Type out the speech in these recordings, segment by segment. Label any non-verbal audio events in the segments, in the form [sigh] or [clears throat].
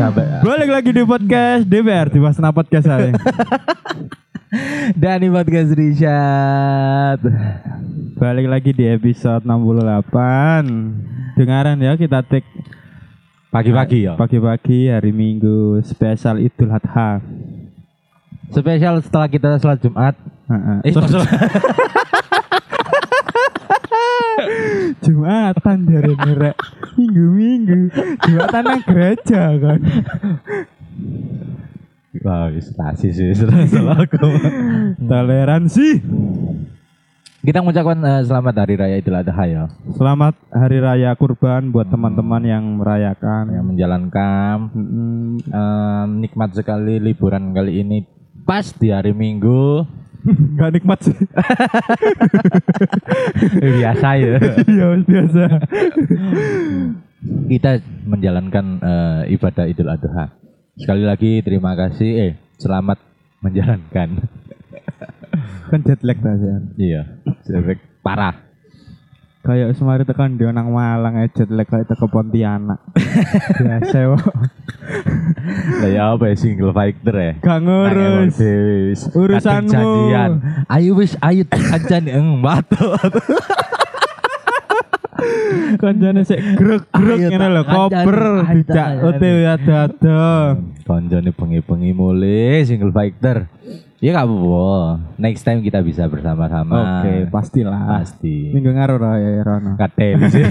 Sabar. Balik lagi di podcast DPR di Wasna Podcast saya. Dani podcast Richard. Balik lagi di episode 68. Dengaran ya kita take Pagi-pagi ya. pagi-pagi hari Minggu spesial Idul Adha. Spesial setelah kita sholat Jumat. Heeh. Eh, So- Jumatan dari merek Minggu-minggu Jumatan nang gereja kan Wah, wis rasis wis salah aku. Toleransi [laughs] Kita mengucapkan eh, selamat Hari Raya Idul Adha ya. Selamat Hari Raya Kurban buat teman-teman yang merayakan Hmm. Yang Hmm. menjalankan Mm-mm. eh, nikmat sekali liburan kali ini pas di hari [laughs] Minggu. Nggak nikmat sih [laughs] Eh, Biasa ya. Iya biasa kita menjalankan eh, ibadah Idul Adha. Sekali lagi terima kasih. Eh, selamat menjalankan. Kan jet lag tadi iya. Efek parah. Kayak semari tekan dia nang Malang aja jet lag kayak teko [laughs] Pontianak. Biasa kok. Lah ya apa ya single fighter ya? Gak ngurus. Urusanmu. Ayo wis ayo kancan eng batu. Konjane sik grek-grek Ayo, ngene Ah, iya, lho, tak koper ajari, dijak ajari. OTW ada-ada. Nah. Konjone bengi-bengi mulai single fighter. Ya gak apa-apa. Next time kita bisa bersama-sama. Oke, pastilah. pasti. Minggu ngaruh roh ya ya, Rono. Katel sih.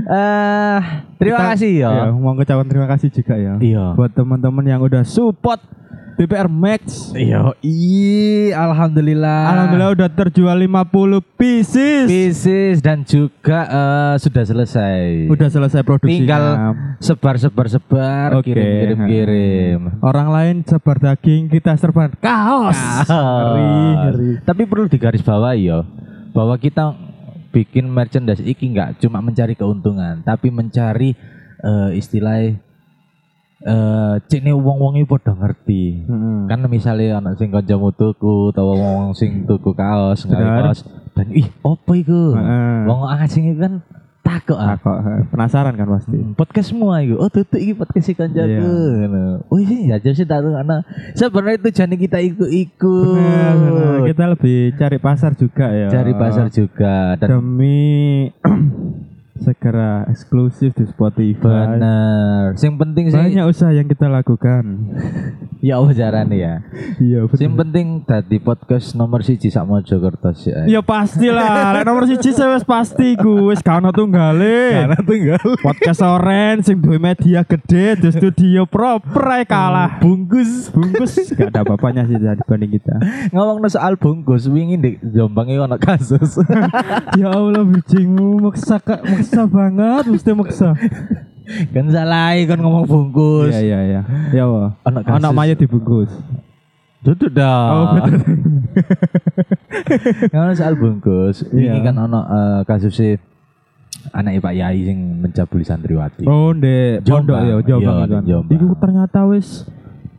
Eh, terima Kita- kasih ya. Iya, mau ngucapin terima kasih juga ya. Iya. Buat teman-teman yang udah support DPR Max. Iya, i alhamdulillah. Alhamdulillah udah terjual 50 pieces. Bisnis dan juga eh, sudah selesai. Udah selesai produksinya. tinggal sebar sebar sebar Oke. kirim kirim kirim. Orang lain sebar daging, kita serban kaos. Ngeri, ngeri. Tapi perlu digarisbawahi ya bahwa kita bikin merchandise iki nggak cuma mencari keuntungan, tapi mencari eh, istilah eh cene wong-wonge padha ngerti. Heeh. kan misalnya anak sing kancamu tuku utawa wong sing tuku kaos Bener. nggak kaos dan ih opo iku Heeh. wong asing iku kan takut ah Aku eh, penasaran kan pasti. podcast semua iku oh tutup iki podcast si kancaku Iya. ngono wih sih ya sih taruh anak sebenarnya tujuannya kita iku iku Bener, bener. Nah, Kita lebih cari pasar juga ya. cari pasar juga dan demi [clears throat] segera eksklusif di Spotify. bener yang penting sih Banyak usaha yang kita lakukan. ya apa caranya ya Iya, yang penting tadi podcast nomor siji sak Mojokerto sih eh. ae. Ya pastilah, lek nomor siji saya wis pasti gue wis gak ono tunggale. tunggal Podcast Oren sing duwe media gede di studio proper ae kalah. Bungkus, bungkus gak ada apa-apanya sih dibanding kita. ngomong soal bungkus wingi di Jombang iki ono kasus [laughs] ya Allah bijingmu maksa Kak, maksa banget mesti maksa. kan salah kan ngomong bungkus Iya iya iya. Ya wah. Anak kasus. Ah. Anak mayat dibungkus. duduk dah Oh, betul. ngomong soal bungkus Iya. wingi kan ono eh, kasus si anak Pak Yai sing mencabuli santriwati Oh, ndek Jombang. pondok ya, Jombang Iya, itu kan. di Jombang. Iku ternyata wis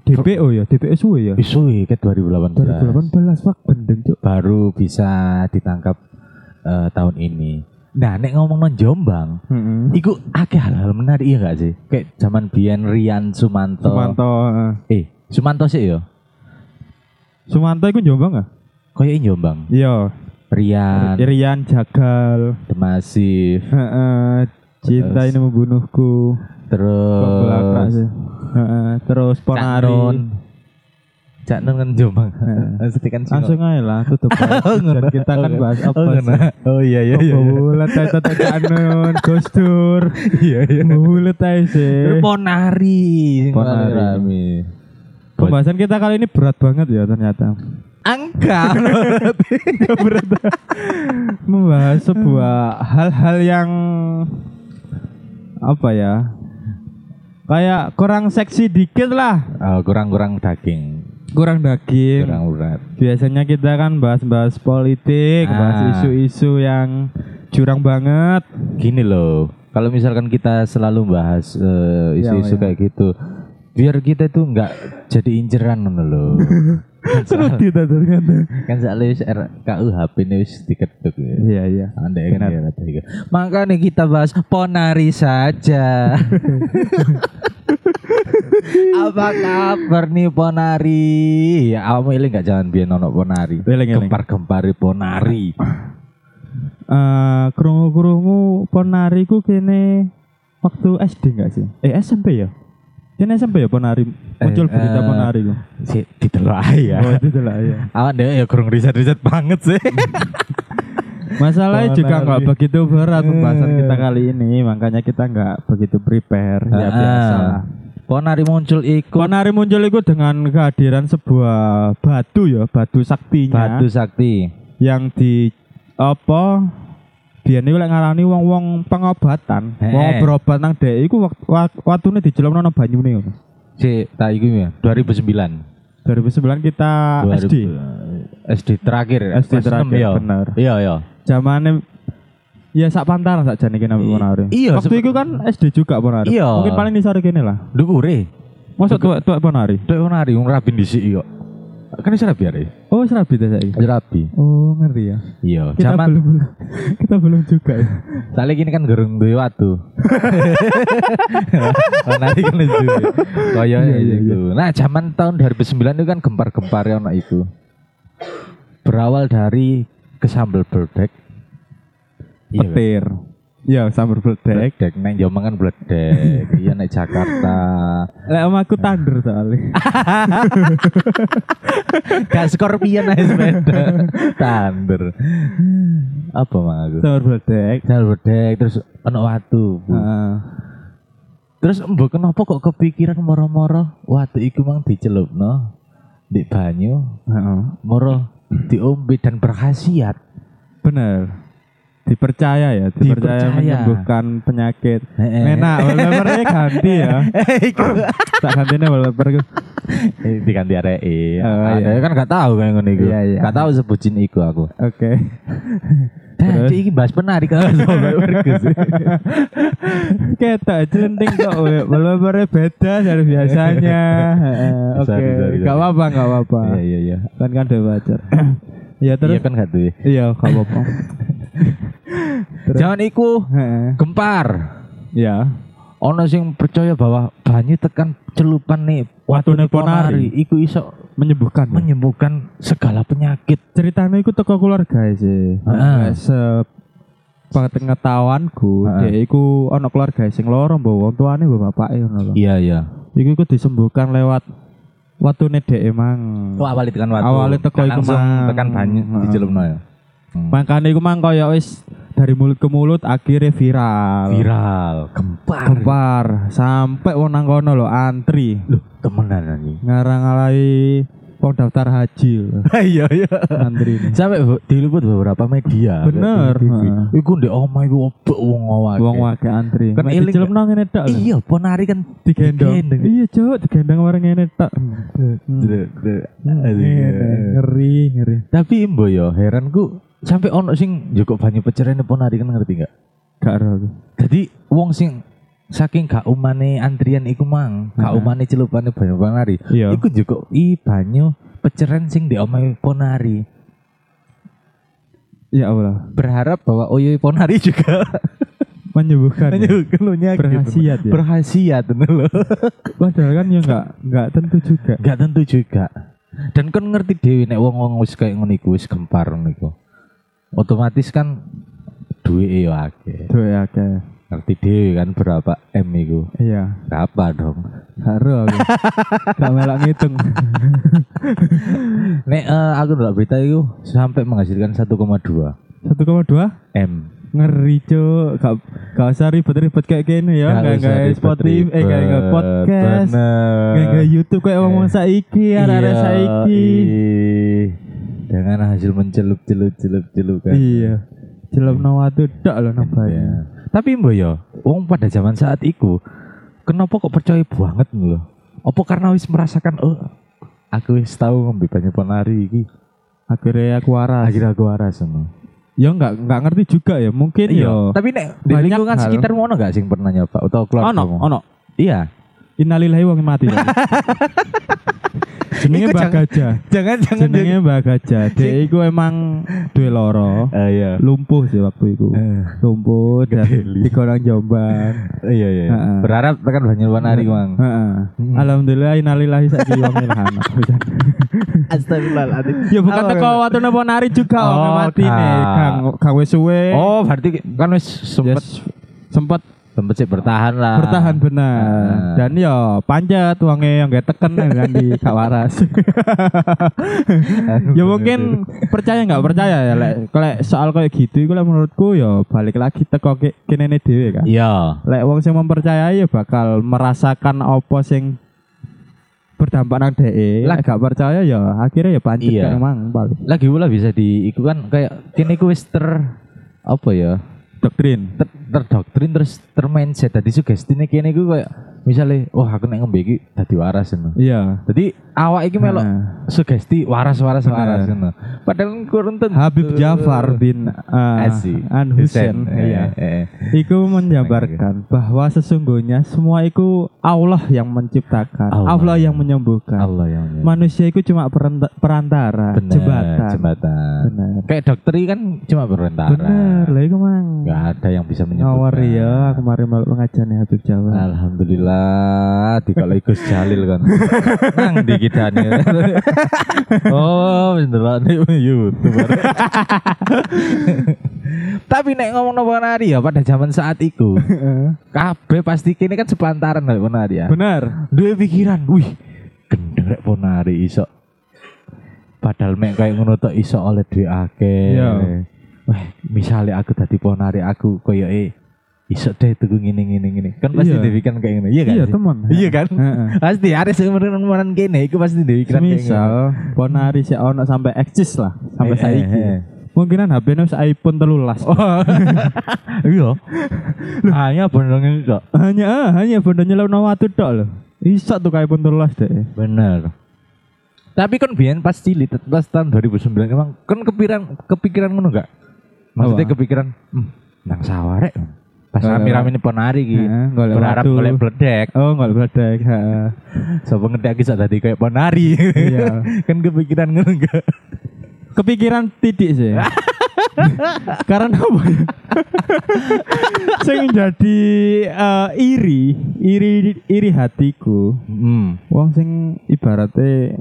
DPO ya, DPO suwe ya. Isuwi ke 2018 2018 wak bendeng cuk. baru bisa ditangkap eh, tahun ini nah nek ngomong Jombang Heeh. Iku akeh hal-hal menarik iya gak sih? Kayak zaman Bian Rian Sumanto. Sumanto. eh. Eh, Sumanto sih yo. Sumanto iku Jombang enggak? Kayak Jombang. Iya. Rian, Irian Jagal. Demasif, Heeh. Cinta Terus. ini membunuhku. Belakang terus sih. Eh, iya. Heeh. Terus Ponari. Ponari. Cak Nun kan Jombang. Heeh. Mesti kan Sino. Langsung aja lah [laughs] tutup. aja. Dan kita kan bahas apa Oh, sih? ngena. Oh iya iya iya. iya. Bulat aja tadi anun, gustur. Iya iya. Bulat aja Terus sih. Ponari. sing Ponari. paling rame. Pembahasan kita kali ini berat banget ya ternyata. [laughs] Angka. Membahas sebuah hal-hal yang apa ya? Kayak kurang seksi dikit lah, Oh, kurang-kurang daging. kurang daging. Kurang urat. Biasanya kita kan bahas-bahas politik, Ah. bahas isu-isu yang curang banget. Gini loh. Kalau misalkan kita selalu bahas eh, isu-isu Iya, iya. [laughs] kayak gitu, biar kita tuh nggak jadi inceran loh. Seru di tadi kan. kan soalnya wis RKUHP ini wis diketuk ya. Iya iya. Andai kan Benar. ya rata tiga. Makanya kita bahas Ponari [laughs] saja. Apa kabar nih Ponari? Ya kamu ini nggak jangan biar nono Ponari. Eling, eling. Gempar-gempari Ponari. Eh krungu-krungu ponari ku kene waktu SD enggak sih? Eh SMP ya? Kene SMP ya ponari muncul Eh, berita eh, ponari ku. Si ditelok ae ya. [laughs] Oh, itu lah ya. Awak deh ya kurang riset-riset banget sih. Masalahnya juga Ponari. nggak begitu berat Eh. pembahasan kita kali ini, makanya kita nggak begitu prepare [laughs] ya Ah. biasa lah. Ponari muncul ikut Ponari muncul itu dengan kehadiran sebuah batu ya, batu saktinya Batu Sakti. yang di apa biyen iku lek ngarani wong-wong pengobatan, Heeh. wong berobat nang dhek iku wak- wak- watune dijelomno nang banyune ngono. Si tak iku ya 2009. 2009 kita SD. 2000, SD terakhir. SD kelas enam terakhir, ya. bener. Iya iya. Zamane ya sak pantaran sak jane kene I- Ponari. iya, Waktu sebe- itu kan SD juga Ponari. Iya. Mungkin paling isor kene lah. Dukure. Masa tuwek-tuwek Ponari. Dek ora ari wong rabi dhisik yo. Kan wis rabi ari. Oh, serabi ta saiki. Rabi. Oh, ngerti ya. Iya, Kita zaman belum kita belum [laughs] juga ya. sale kini kan gerung duwe [laughs] watu. Nanti kan lucu. Kaya Iya, iya, gitu. Nah, zaman tahun 2009 itu kan gempar-gempar ya ono itu. Berawal dari kesambel bledek. Iya, Petir. Ya, sambal bledek. bledek. Nek Jombang kan [laughs] bledek. Iya nek Jakarta. Lek omahku tandur soalnya. [laughs] Gak scorpion aja [laughs] sepeda. Thunder. Apa mang aku? Sambal bledek. Sel bedek terus ono watu. Bu. Heeh. Terus mbok kenapa kok kepikiran moro-moro watu iku mang dicelupno di banyu Heeh. moro diombe dan berkhasiat. Bener. Dipercaya ya, dipercaya, Dipercaya. Eh. menyembuhkan penyakit. Heeh. [laughs] Enak, wallpapernya ganti ya. Tak gantinya wallpaper ku. Eh, diganti arek. Oh, Oh, iya. kan gak tahu kayak ngono iku. Iya, iya. Gak tahu sebutin iku aku. Oke. Tadi iki bahas penarik [laughs] kan sampai berkus. Kita jenting kok we. wallpapernya beda dari biasanya. Heeh, Bisa, Oke. bisa, bisa. Gak apa-apa, gak apa-apa. Iya iya iya. Kan kan udah [laughs] wajar. Ya Iya terus kan gak duwe. iya gak apa-apa. Terus? Jangan iku Heeh. gempar. Ya. ono sing percaya bahwa banyu tekan celupan nih Watu nih ponari. iku iso Menyembuhkan. ya. Hmm. menyembuhkan segala penyakit ceritanya itu teko keluarga e sih. Heeh. Se pengetahuanku, Heeh. dia iku ana keluarga sing lara mbok wong tuane mbok bapake ngono lho. iya iya Iku iku disembuhkan lewat watune dhek e, mang. oh awalnya tekan watu Awalnya teko Gak iku langsung mang. tekan banyu Heeh. dicelupno ya Hmm. Makane iku mang kaya wis dari mulut ke mulut akhirnya viral. viral gempar Gempar sampai wong nang kono lho antri Loh, temenan anjing [laughs] ngarang-arai wong daftar haji lho, iya iya antri [laughs] ini. sampai be- diliput beberapa media kayak Bener, di TV. heeh. iku ndek omah iku obok Hmm. wong awake Wong wake antri. Kan Mek iling- dicelemno ngene tok. lho. iya ponari kan digendong. Digendong. Hmm. Iya, Cuk, digendong warung ngene tok. Dre- dre- Iya, Ngene, Iya, Ngeri, ngeri. tapi mbo yo heranku sampai ono sing njukuk banyu pecerene ponari kan ngerti gak Gak ero aku. Jadi wong sing saking gak umane antrian iku mang, gak Heeh. umane celupane banyu ponari. Iya. Iku juga i banyu peceren sing di omahe ponari. Ya Allah. Berharap bahwa oyoy ponari [laughs] juga Menyembuhkan. ya. hanya keluarnya gitu. Berhasiat ya. Berhasiat [laughs] ngono lho. Padahal kan ya enggak enggak tentu juga. Gak tentu juga. Dan kan ngerti dewi nek wong-wong wis kayak ngono iku wis gempar ngono iku. Otomatis kan duwe yo akeh. Duh ya kayak. Ngerti dewi kan berapa M iku. Iya, Berapa dong? gak ero [laughs] aku. Gak melak ngitung. Nek eh, aku nolak berita itu sampai menghasilkan 1,2 1,2 M. ngeri cuk gak, gak usah ribet-ribet kayak gini ya Nggak gak usah gak Spotify eh gak gak ribet-ribet. podcast Bener. gak gak YouTube kayak ngomong Eh. saiki arek-arek Iya, saiki ih. Dengan hasil mencelup celup celup celup kan. iya jelema watu dak lho nang bayi. Ya. Tapi mbak ya, wong pada zaman saat itu kenapa kok percaya banget lho? Apa karena wis merasakan oh aku wis tahu ngombe banyak penari iki. akhirnya aku waras Akhirnya aku waras ngono. ya nggak nggak ngerti juga ya mungkin Iya. ya Tapi nek di Banyak lingkungan hal. sekitar ngono gak sing pernah nyoba atau ono keluargamu? ono Iya. innalillahi wong mati [laughs] Iku Jenenge Mbak jangan- Gajah. Jangan jangan Jenenge Mbak Gajah. Dek iku emang duwe lara. Ah, Eh, iya. Lumpuh sih waktu itu. Eh, Lumpuh dan Gedeli. dikorang jombang. Iya iya. iya. Heeh. Berharap tekan banyak wanari mang. Heeh. Alhamdulillah innalillahi saiki wong ilhana. Astagfirullahaladzim. Ya bukan teko watu nopo nari juga Oh, wong mati nih. Kak. Kang kang wis suwe. Oh, berarti kan wis sempet Yes. Sempet sempet sih bertahan lah. [laughs] bertahan benar. Ah. Dan ya panjat wonge yang gak teken kan di Kak Waras. [laughs] ya mungkin percaya nggak percaya ya lek lek soal kayak gitu iku lek menurutku ya balik lagi teko ke- kenene dhewe kan. Iya. Lek wong sing mempercayai ya bakal merasakan apa sing berdampak nang dhek. Lah. Lek gak percaya ya akhirnya ya pancet Iya. kayak emang balik. Lagi pula bisa di iku kan kayak kini ku wis ter apa ya? Doktrin. Ter, terdoktrin terus termindset tadi sugestine kene ku kayak misalnya wah aku nek ngombe iki dadi waras ngono. Iya. Jadi awak iki melok Nah. sugesti waras waras Bener. waras ngono. Padahal kurang tentu. Habib Jafar bin uh, Asik. An Hussein, iya. Iku menjabarkan bahwa sesungguhnya semua itu Allah yang menciptakan, Allah. Allah, yang menyembuhkan. Allah yang Manusia itu cuma perenta- Nah. perantara, Bener, jembatan. jembatan. Bener. Kayak dokter kan cuma berantara. Bener, lah iku mang. Gak ada yang bisa menyembuhkan. Ngawar ya, aku mari melok pengajian Habib Jafar. Alhamdulillah, di kalau Gus Jalil kan. Nang di kita nih. oh, beneran nih YouTuber. Tapi nek ngomong nopo nari ya pada zaman saat itu, kabeh pasti kini kan sepantaran lho nari ya. Bener. Dua pikiran, wih, gendeng rek ponari iso. Padahal mek kayak ngono tok iso oleh duwe akeh. Iya. Wah, misale aku dadi ponari aku koyo e iso deh tuku ngene ngene ngene. Kan pasti Iya. yeah. kan kayak ngene. Iya kan? Iya, sih? teman. Iya kan? Heeh. pasti ada sing menen kene iku pasti dipikiran kayak ngene. Misal ponari sik ono sampai eksis lah, sampai Eh, eh, saiki. eh. Oh. Mungkinan HP-ne wis iPhone 13. Iya. Hanya bener kok. hanya ah, hanya bondo nyelokno watu tok lho. Isak tuh kayak pun telas deh. Bener. Tapi kan biyen pas cilik pas tahun 2009 emang kan kepikiran kepikiran ngono enggak? Maksudnya Apa? kepikiran hmm, nang sawah rek. Pas Golek- rame-rame ini penari ki. Heeh, golek Iya. Berharap watu. golek bledek. Oh, nggak bledek. heeh. Sapa ngedek ki sak dadi kayak penari. Iya. [laughs] kan kepikiran ngono enggak? Kepikiran titik sih. Karena apa? ya? Sing jadi eh, iri, iri iri hatiku. Hmm. Wong sing ibaratnya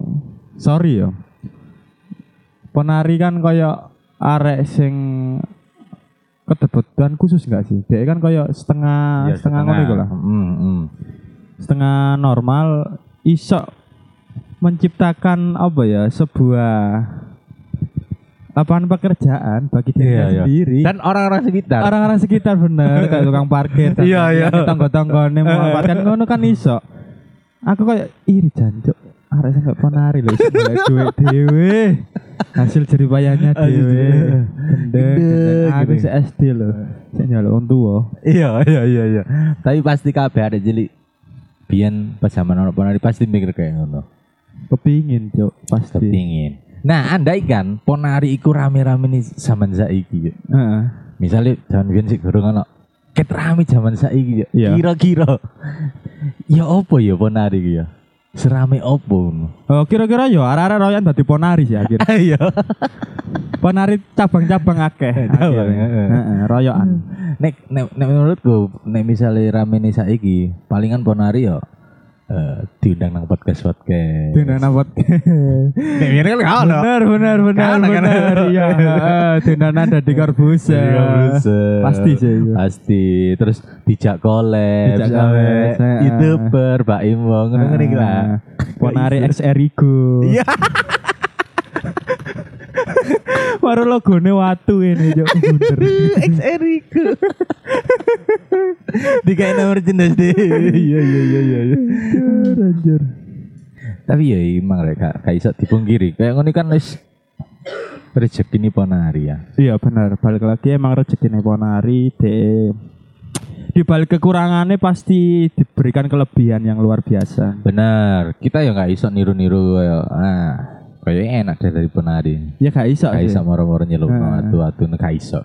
sorry ya. Penari kan kaya arek sing kedebetan khusus enggak sih? Dia kan Ah, kaya Iya, setengah Iya, setengah ngono iku lah. Hmm, hmm. setengah normal iso menciptakan apa ya sebuah lapangan pekerjaan bagi Iya, dirinya iya. sendiri Dan orang-orang sekitar. orang-orang sekitar bener kayak tukang [laughs] parkir dan Iya, Eh. iya. tonggo-tonggone memanfaatkan ngono kan iso aku kayak iri jancuk arek sampe penari lho iso [laughs] golek duit dhewe hasil jeripayanya Hasil dhewe jeripayanya. gendeng gendeng. aku iya. Gendeng. se SD lho sik nyolok wong tuwa iya, iya, iya, iya. Tapi pasti kabeh ada cilik. Biyen pas zaman orang penari pasti mikir kayak ngono. kepingin cuk pasti kepingin. Nah, andai kan ponari iku rame-rame nih zaman saiki. yuk. heeh Misalnya zaman biyen sik gorong ana ket rame zaman saiki. yuk. Iya. Kira-kira ya opo ya ponari iki ya? Serame opo? ngono? Oh, kira-kira yo arah-arah royan dadi ponari sih akhir. [laughs] Iya. Eh, Ponari cabang-cabang akeh. Cabang, Hmm. akhirnya. heeh. Heeh, royokan. nek, nek, nek menurutku nek misalnya rame nih saiki, palingan ponari ya eh, diundang nang podcast podcast. Dina nabot. [laughs] Nek biyen kan gak ono. Bener, bener, bener, Kan, Iya. kan. bener. Iya, heeh, dinana ada di karbusa. Jadi nggak berusaha. Pasti sih itu. Pasti. Terus dijak kolab, Dijak sampai collab, saya. youtuber, Pak Imong, ngene iki lah. Heeh. Eh, Ponari X Erigo. Iya. Baru logone watu ini, Cuk. Bunder. [laughs] Ex Eriko. Dikai nomor jendas deh. [laughs] Iya iya iya iya. iya. Anjir, anjir. Tapi ya emang rek gak gak iso dipungkiri. Kayak ngono kan wis rezeki ini ponari ya. Iya benar, balik lagi emang rezekine ponari de di balik kekurangannya pasti diberikan kelebihan yang luar biasa. Bener. Kita ya gak iso niru-niru kayak ah kayaknya enak deh dari penari. Ya gak iso Gak sih. Ah. iso moro-moro nyelup Heeh. watu-watu nek gak iso.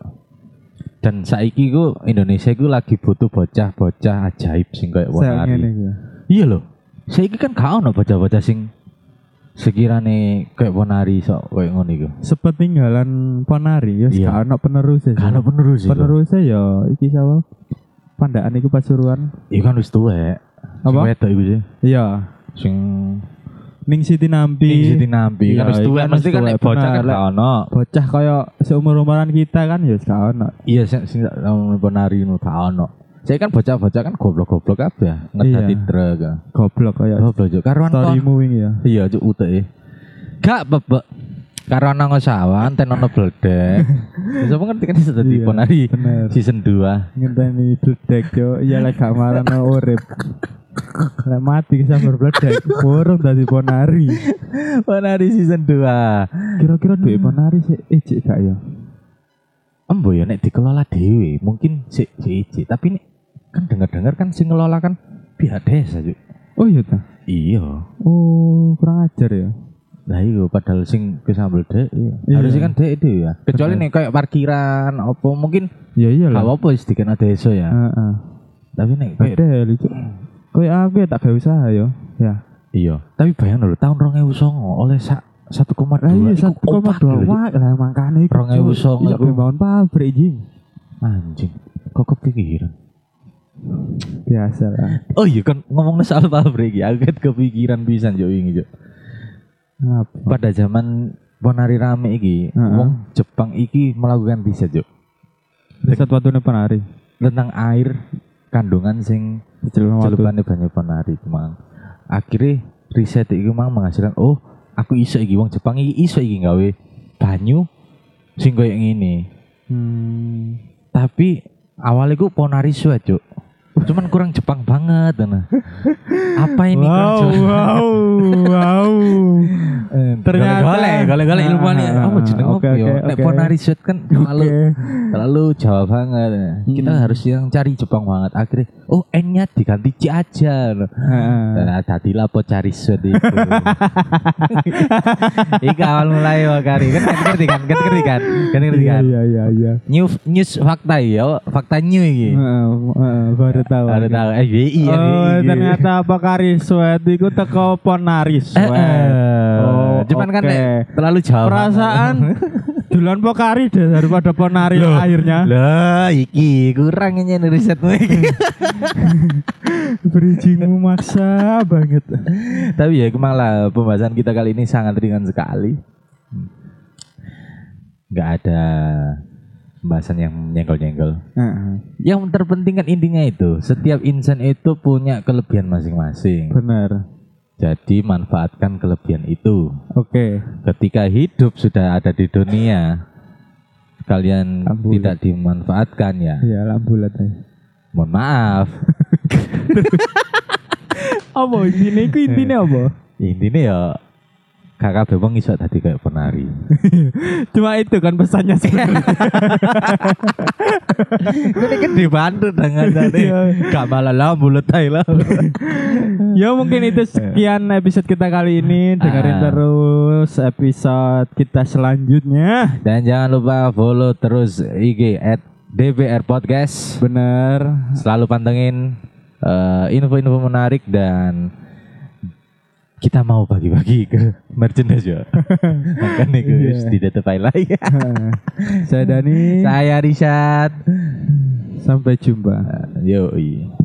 Dan saiki ku Indonesia ku lagi butuh bocah-bocah ajaib sing kayak Saya ngene Wonari. iki. Iya loh. Saiki kan gak ono bocah-bocah sing sekirane kayak ponari sok kayak ngono iku. sepetinggalan ponari ya Iya. gak ono penerus ya. Kalau penerus iku. Penerusnya ya iki sapa? Pandaan iku Pasuruan. Iku kan wis tuwek. Sing Apa? wedok iku sih. Iya. Sing Ning Siti Nampi. ning siti nampi Iya, kan wis iku tuwek kan mesti wis kan nek tuwek, bocah bener, kan gak ono. Bocah kaya seumur-umuran kita kan ya gak ono. Iya sing sing gak tau ponari ngono gak ono. Saya kan bocah-bocah kan goblok-goblok kabeh, ngedati Iya. truk. Goblok kaya Goblok juk karuan kon. storymu wingi ya. Iya cuk uteke. Gak bebek. Karo ana ngosawan ten ono bledek. [laughs] Bisa ngerti kan sudah di Iya, ponari Bener. season 2. Ngenteni bledek yo, iya lek gak marano urip. Lek mati kesambar bledek, burung dadi ponari. Ponari season 2. Kira-kira duwe Hmm. ponari sih ijik gak ya? Embo ya nek dikelola dhewe, mungkin sik sik ijik. tapi nek kan denger-denger kan sing ngelola kan pihak desa juk. Oh iya ta. Iya. Oh, kurang ajar ya. Lah iya padahal sing kesambel dek iya. Iya. Harusnya kan dek itu ya. Kecuali nek kayak parkiran apa mungkin Ya gak iyalah. apa-apa sih dikena desa ya. Heeh. Iya. Tapi nek kayak Padahal itu Kayak aku ya tak gawe usaha yo. Ya. Iya. Tapi bayang dulu tahun 2009 oleh sak 1,2 Lah iya iku satu koma opat lho, dua Cuk. wak lah makane iku. Rong ewu Cuk. songo Iya iku. bangun pabrik jing. Anjing. Kok kepikiran? Biasa lah. Oh iya kan ngomongnya soal pabrik ya, aku kan kepikiran pisan yo ini Cuk. Ngapa? Pada zaman Ponari rame iki, Heeh. wong Jepang iki melakukan riset yo Riset watune penari. tentang air kandungan sing Diceluk watu. celupane banyu Ponari mang. Akhirnya riset iki mang menghasilkan oh, aku iso iki wong Jepang iki iso iki gawe banyu sing koyo ngene. Hmm. tapi awalnya gue ponari suwe cuk cuman kurang Jepang banget [laughs] nah. apa ini kan, kurang Wow, Jepang? [laughs] wow, wow. Eh, Ternyata- golek golek golek ilmu ini Ah, apa jeneng oke, apa ya oke, nek oke. ponari suwe kan terlalu Oke. terlalu Jawa banget nah. kita Hmm. harus yang cari Jepang banget akhirnya oh N nya diganti C aja nah. Heeh. Nah, dadilah po cari suwe itu. [laughs] Iki awal mulai wakari kan kan ngerti kan kan ngerti kan kan ngerti Iya kan. iya iya iya. New news fakta ya, fakta new iki. Heeh, heeh, baru tahu. Baru tahu eh WI ya. Oh, WI. ternyata apa kari sweat iku teko ponari Eh, sweat. Oh, cuman kan oke. nek terlalu jauh. Perasaan [laughs] dulan pokari deh daripada ponari akhirnya. [laughs] Lah, iki kurang ini risetmu iki. Berijingmu maksa banget. Tapi ya malah pembahasan kita kali ini sangat ringan sekali. Nggak ada pembahasan yang nyenggol-nyenggol. Yang terpenting kan intinya itu, setiap insan itu punya kelebihan masing-masing. Benar. Jadi manfaatkan kelebihan itu. Oke. ketika hidup sudah ada di dunia kalian Ampun. tidak dimanfaatkan ya Ya lah bulat aja. mohon maaf Apa intinya iku intinya apa? intinya ya kakak bebong iso tadi kayak penari Cuma itu kan pesannya sebenarnya. ini kan dibantu [laughs] dengan Iya. gak malah lah bulet ae lah ya mungkin itu sekian episode kita kali ini. Dengerin Ah. terus episode kita selanjutnya. dan jangan lupa follow terus IG at DBR Podcast Benar. selalu pantengin eh, info-info menarik dan kita mau bagi-bagi ke merchandise [laughs] ya Kan makanya gue Iya. harus tidak tepai lagi [laughs] Saya Dani. Saya Rizat. Sampai jumpa. Yoi.